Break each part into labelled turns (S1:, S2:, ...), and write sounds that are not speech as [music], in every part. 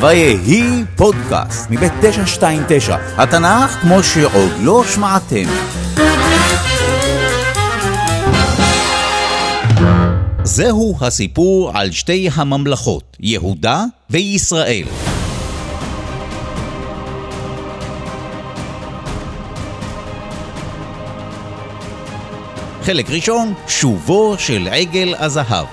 S1: ויהי פודקאסט מבית 929, התנ"ך כמו שעוד לא שמעתם. זהו הסיפור על שתי הממלכות, יהודה וישראל. חלק ראשון, שובו של עגל הזהב.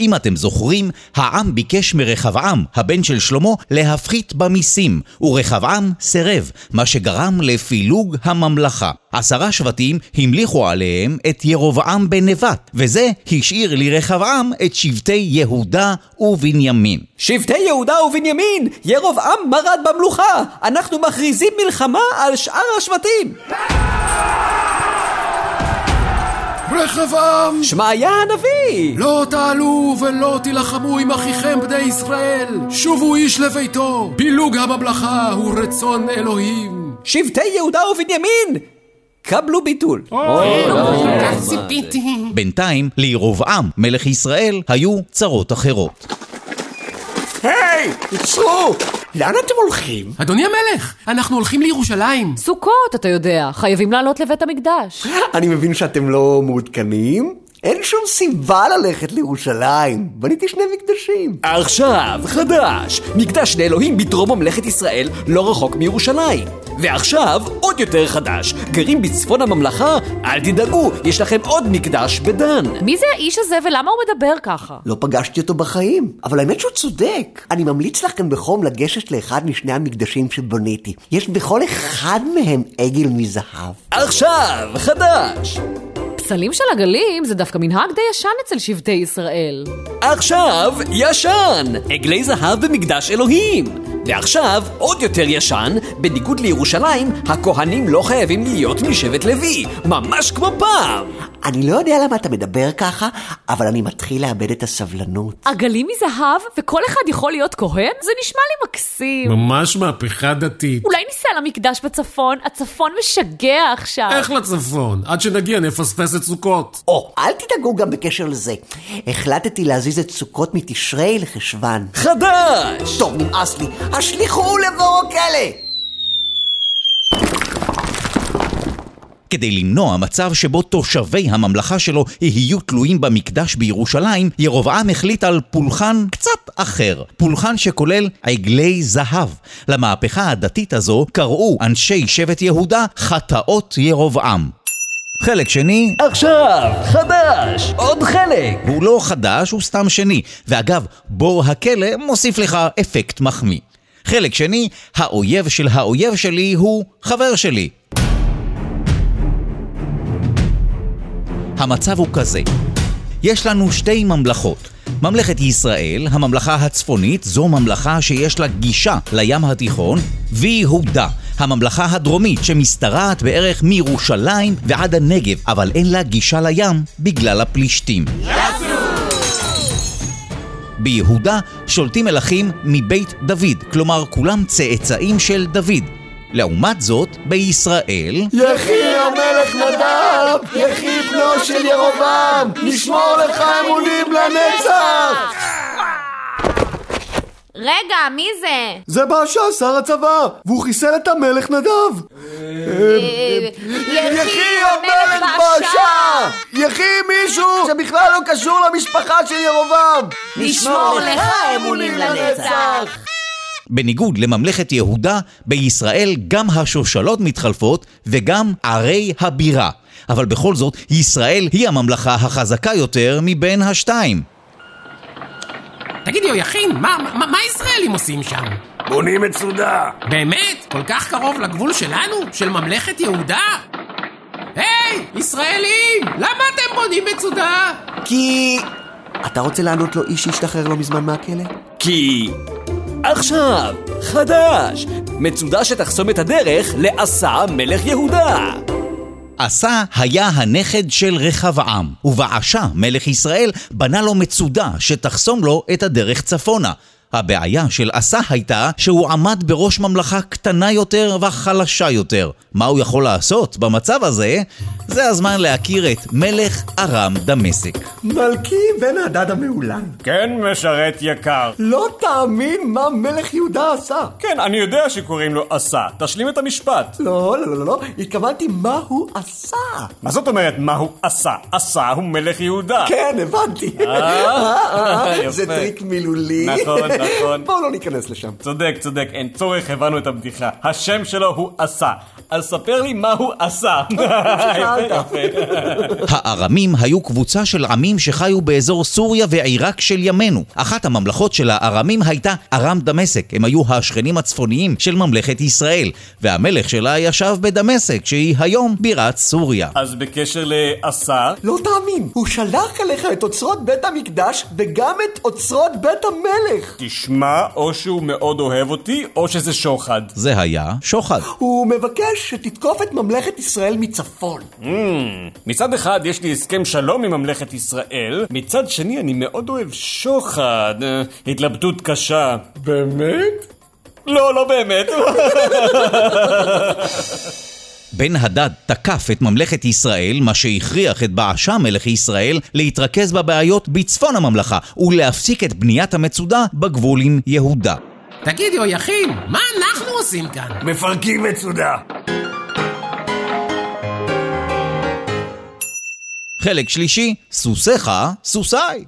S1: אם אתם זוכרים, העם ביקש מרחבעם, הבן של שלמה, להפחית במיסים, ורחבעם סירב, מה שגרם לפילוג הממלכה. עשרה שבטים המליכו עליהם את ירבעם בן נבט, וזה השאיר לרחבעם את שבטי יהודה ובנימין.
S2: שבטי יהודה ובנימין, ירבעם מרד במלוכה, אנחנו מכריזים מלחמה על שאר השבטים.
S3: רחבעם!
S2: שמעיה הנביא!
S3: לא תעלו ולא תילחמו עם אחיכם בני ישראל! שובו איש לביתו! פילוג הממלכה הוא רצון אלוהים!
S2: שבטי יהודה ובנימין! קבלו ביטול.
S4: כך ציפיתי.
S1: בינתיים, לירבעם, מלך ישראל, היו צרות אחרות.
S5: היי, עצרו! לאן אתם הולכים?
S3: אדוני המלך, אנחנו הולכים לירושלים!
S6: סוכות, אתה יודע, חייבים לעלות לבית המקדש.
S5: אני מבין שאתם לא מעודכנים? אין שום סיבה ללכת לירושלים. בניתי שני מקדשים.
S2: עכשיו, חדש, מקדש לאלוהים בדרום ממלכת ישראל, לא רחוק מירושלים. ועכשיו, עוד יותר חדש, גרים בצפון הממלכה, אל תדאגו, יש לכם עוד מקדש בדן.
S6: מי זה האיש הזה ולמה הוא מדבר ככה?
S5: לא פגשתי אותו בחיים, אבל האמת שהוא צודק. אני ממליץ לך כאן בחום לגשת לאחד משני המקדשים שבניתי. יש בכל אחד מהם עגל מזהב.
S2: עכשיו, חדש.
S6: פסלים של עגלים זה דווקא מנהג די ישן אצל שבטי ישראל.
S2: עכשיו, ישן! עגלי זהב במקדש אלוהים! ועכשיו, עוד יותר ישן, בניגוד לירושלים, הכהנים לא חייבים להיות משבט לוי, ממש כמו פעם!
S5: אני לא יודע למה אתה מדבר ככה, אבל אני מתחיל לאבד את הסבלנות.
S6: עגלים מזהב וכל אחד יכול להיות כהן? זה נשמע לי מקסים.
S7: ממש מהפכה דתית.
S6: אולי ניסע למקדש בצפון? הצפון משגע עכשיו.
S8: אה.
S7: איך לצפון? עד שנגיע נפספס את סוכות.
S5: או, אל תדאגו גם בקשר לזה. החלטתי להזיז את סוכות מתשרי לחשוון.
S2: חדש!
S5: טוב, נמאס לי. השליכוהו לבורו כלא!
S1: כדי למנוע מצב שבו תושבי הממלכה שלו יהיו תלויים במקדש בירושלים, ירבעם החליט על פולחן קצת אחר, פולחן שכולל עגלי זהב. למהפכה הדתית הזו קראו אנשי שבט יהודה חטאות ירבעם. חלק שני,
S2: עכשיו, חדש! עוד חלק!
S1: והוא לא חדש, הוא סתם שני. ואגב, בור הכלא מוסיף לך אפקט מחמיא. חלק שני, האויב של האויב שלי הוא חבר שלי. המצב הוא כזה. יש לנו שתי ממלכות. ממלכת ישראל, הממלכה הצפונית, זו ממלכה שיש לה גישה לים התיכון, ויהודה, הממלכה הדרומית שמשתרעת בערך מירושלים ועד הנגב, אבל אין לה גישה לים בגלל הפלישתים. ביהודה שולטים מלכים מבית דוד, כלומר כולם צאצאים של דוד. לעומת זאת, בישראל,
S3: יחי המלך נדב! יחי בנו של ירבעם! נשמור לך אמונים לנצח!
S8: רגע, מי זה?
S3: זה באשה, שר הצבא! והוא חיסל את המלך נדב!
S6: אה,
S3: אה, יחי המלך באשה! יחי מישהו שבכלל לא קשור למשפחה של ירבעם!
S8: נשמור לך אמונים לנצח!
S1: בניגוד לממלכת יהודה, בישראל גם השושלות מתחלפות וגם ערי הבירה. אבל בכל זאת, ישראל היא הממלכה החזקה יותר מבין השתיים.
S4: תגידי, יוחין, מה, מה, מה הישראלים עושים שם?
S9: בונים את סודה.
S4: באמת? כל כך קרוב לגבול שלנו? של ממלכת יהודה? היי, ישראלים! למה אתם בונים מצודה?
S5: כי... אתה רוצה לענות לו איש שהשתחרר לא מזמן מהכלא?
S2: כי... עכשיו, חדש! מצודה שתחסום את הדרך לעשה מלך יהודה!
S1: עשה היה הנכד של רחבעם, ובעשה מלך ישראל בנה לו מצודה שתחסום לו את הדרך צפונה. הבעיה של עשה הייתה שהוא עמד בראש ממלכה קטנה יותר וחלשה יותר. מה הוא יכול לעשות במצב הזה? זה הזמן להכיר את מלך ארם דמשק.
S5: מלכי בן הדד המהולן.
S10: כן, משרת יקר.
S5: לא תאמין מה מלך יהודה עשה.
S10: כן, אני יודע שקוראים לו עשה. תשלים את המשפט.
S5: לא, לא, לא, לא, התכוונתי מה הוא עשה.
S10: מה זאת אומרת מה הוא עשה? עשה הוא מלך יהודה.
S5: כן, הבנתי. אה, אה, זה
S10: יפה.
S5: טריק מילולי.
S10: נכון, נכון.
S5: בואו לא ניכנס לשם.
S10: צודק, צודק, אין צורך, הבנו את הבדיחה. השם שלו הוא עשה. אז ספר לי מה הוא עשה.
S5: ששאלת.
S10: יפה, יפה.
S1: הארמים היו קבוצה של עמים שחיו באזור סוריה ועיראק של ימינו. אחת הממלכות של הארמים הייתה ארם דמשק. הם היו השכנים הצפוניים של ממלכת ישראל, והמלך שלה ישב בדמשק, שהיא היום בירת סוריה.
S10: אז בקשר לעשה,
S5: לא תאמין, הוא שלח אליך את אוצרות בית המקדש וגם את אוצרות בית המלך.
S10: תשמע, או שהוא מאוד אוהב אותי, או שזה שוחד.
S1: זה היה שוחד.
S5: הוא מבקש שתתקוף את ממלכת ישראל מצפון.
S10: מצד אחד יש לי הסכם שלום עם ממלכת ישראל, מצד שני אני מאוד אוהב שוחד. אה, התלבטות קשה.
S7: באמת?
S10: לא, לא
S11: [laughs]
S10: באמת.
S1: בן הדד תקף את ממלכת ישראל, מה שהכריח את בעשה מלך ישראל להתרכז בבעיות בצפון הממלכה, ולהפסיק את בניית המצודה בגבול עם יהודה.
S4: תגידו, יחים, מה אנחנו עושים כאן?
S9: מפרקים מצודה.
S1: חלק שלישי, סוסיך, סוסיי.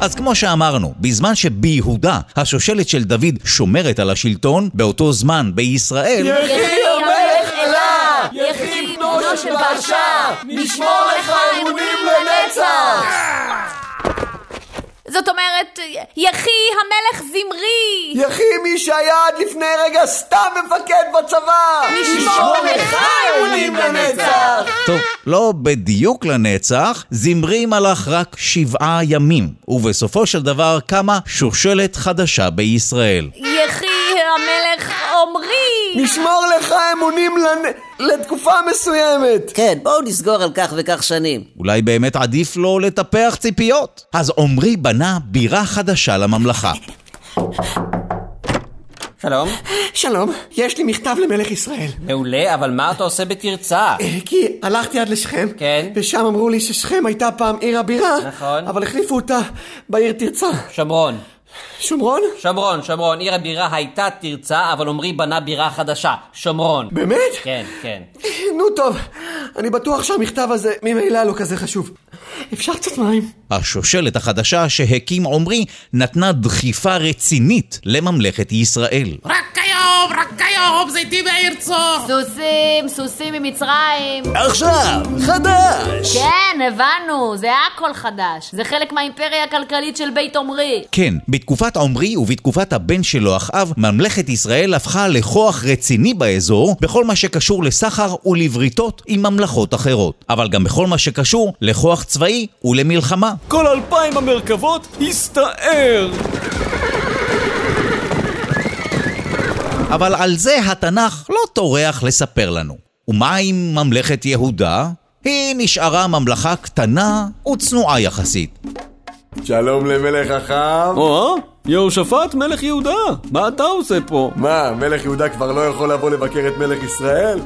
S1: אז כמו שאמרנו, בזמן שביהודה השושלת של דוד שומרת על השלטון, באותו זמן בישראל...
S8: יחי המלך אלה! יחי בנו של באשה! נשמור לך אמונים לנצח! זאת אומרת, יחי המלך זמרי!
S5: יחי מי שהיה עד לפני רגע סתם מפקד בצבא!
S8: נשמור לך אמונים לנצח!
S1: טוב, לא בדיוק לנצח, זמרי מלך רק שבעה ימים, ובסופו של דבר קמה שושלת חדשה בישראל.
S8: יחי המלך עמרי!
S5: נשמור לך אמונים לנ... לתקופה מסוימת!
S12: כן, בואו נסגור על כך וכך שנים.
S1: אולי באמת עדיף לו לטפח ציפיות. אז עמרי בנה בירה חדשה לממלכה.
S13: שלום.
S5: שלום, יש לי מכתב למלך ישראל.
S13: מעולה, אבל מה אתה עושה בתרצה?
S5: אה, כי הלכתי עד לשכם,
S13: כן.
S5: ושם אמרו לי ששכם הייתה פעם עיר הבירה,
S13: נכון.
S5: אבל החליפו אותה בעיר תרצה.
S13: שומרון.
S5: שומרון?
S13: שומרון, שומרון. עיר הבירה הייתה תרצה, אבל עמרי בנה בירה חדשה. שומרון.
S5: באמת?
S13: כן, כן.
S5: נו טוב, אני בטוח שהמכתב הזה ממילא לא כזה חשוב. אפשר קצת מים?
S1: השושלת החדשה שהקים עמרי נתנה דחיפה רצינית לממלכת ישראל.
S4: רק היום, רק היום, זיתי בעיר צור!
S8: סוסים, סוסים ממצרים.
S2: עכשיו, חדש!
S8: כן, הבנו, זה הכל חדש. זה חלק מהאימפריה הכלכלית של בית עמרי.
S1: כן, בתקופת עמרי ובתקופת הבן שלו אחאב, ממלכת ישראל הפכה לכוח רציני באזור בכל מה שקשור לסחר ולבריתות עם ממלכות אחרות, אבל גם בכל מה שקשור לכוח צבאי ולמלחמה.
S2: כל אלפיים המרכבות הסתער!
S1: אבל על זה התנ"ך לא טורח לספר לנו. ומה עם ממלכת יהודה? היא נשארה ממלכה קטנה וצנועה יחסית.
S9: שלום למלך החם.
S2: או, יהושפט מלך יהודה, מה אתה עושה פה?
S9: מה, מלך יהודה כבר לא יכול לבוא לבקר את מלך ישראל?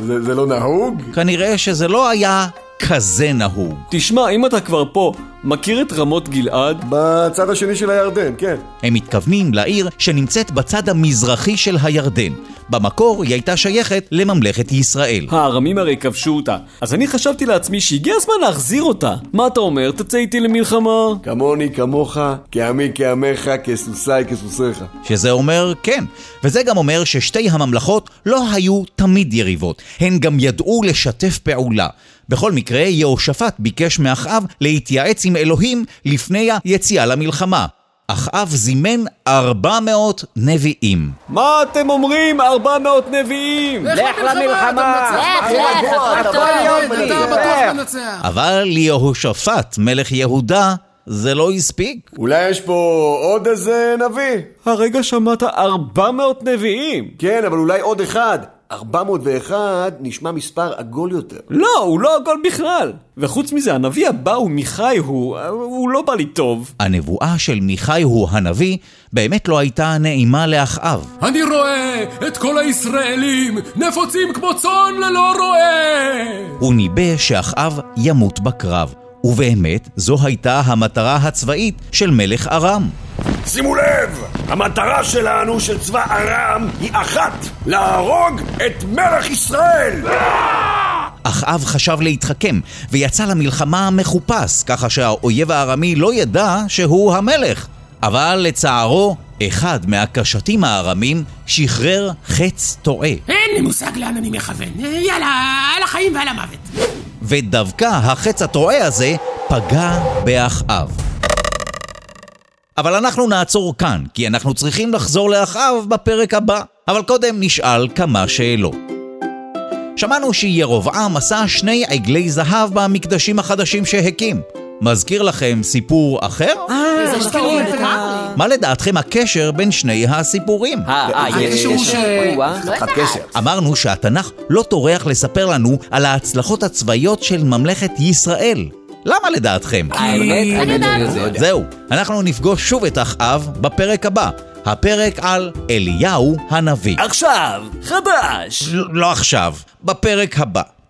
S9: זה, זה לא נהוג?
S1: כנראה שזה לא היה כזה נהוג.
S2: תשמע, אם אתה כבר פה, מכיר את רמות גלעד?
S9: בצד השני של הירדן, כן.
S1: הם מתכוונים לעיר שנמצאת בצד המזרחי של הירדן. במקור היא הייתה שייכת לממלכת ישראל.
S2: הארמים הרי כבשו אותה, אז אני חשבתי לעצמי שהגיע הזמן להחזיר אותה. מה אתה אומר? תצא איתי למלחמה.
S9: כמוני, כמוך, כעמי, כעמך, כסוסי, כסוסיך.
S1: שזה אומר כן. וזה גם אומר ששתי הממלכות לא היו תמיד יריבות, הן גם ידעו לשתף פעולה. בכל מקרה, יהושפט ביקש מאחאב להתייעץ עם אלוהים לפני היציאה למלחמה. אחאב זימן 400 נביאים.
S2: מה אתם אומרים? 400 נביאים!
S4: לך למלחמה!
S8: לך, לך, הכל
S4: אתה
S8: טוב.
S4: בטוח מנצח!
S1: אבל ליהושפט, מלך יהודה, זה לא הספיק.
S9: אולי יש פה עוד איזה נביא?
S2: הרגע שמעת 400 נביאים!
S9: כן, אבל אולי עוד אחד. 401 נשמע מספר עגול יותר.
S2: לא, הוא לא עגול בכלל. וחוץ מזה, הנביא הבא הוא מיכאי הוא, אה, הוא לא בא לי טוב.
S1: הנבואה של מיכאי הוא הנביא באמת לא הייתה נעימה לאחאב.
S3: אני רואה את כל הישראלים נפוצים כמו צאן ללא רועה!
S1: הוא ניבא שאחאב ימות בקרב, ובאמת זו הייתה המטרה הצבאית של מלך ארם.
S11: שימו לב, המטרה שלנו, של צבא ארם, היא אחת, להרוג את מלך ישראל!
S1: אחאב חשב להתחכם, ויצא למלחמה מחופש, ככה שהאויב הארמי לא ידע שהוא המלך. אבל לצערו, אחד מהקשתים הארמים שחרר חץ טועה,
S4: אין לי מושג לאן אני מכוון. אה, יאללה, על החיים ועל המוות.
S1: ודווקא החץ הטועה הזה פגע באחאב. אבל אנחנו נעצור כאן, כי אנחנו צריכים לחזור לאחאב בפרק הבא. אבל קודם נשאל כמה שאלות. שמענו שירבעם עשה שני עגלי זהב במקדשים החדשים שהקים. מזכיר לכם סיפור אחר?
S4: אה, זה מזכיר לי את
S1: מה לדעתכם הקשר בין שני הסיפורים?
S13: אה, יש
S4: ש...
S1: אמרנו שהתנ"ך לא טורח לספר לנו על ההצלחות הצבאיות של ממלכת ישראל. למה לדעתכם?
S13: האמת, אני לא יודע.
S1: זהו, אנחנו נפגוש שוב את אחאב בפרק הבא, הפרק על אליהו הנביא.
S2: עכשיו, חדש!
S1: לא עכשיו, בפרק הבא.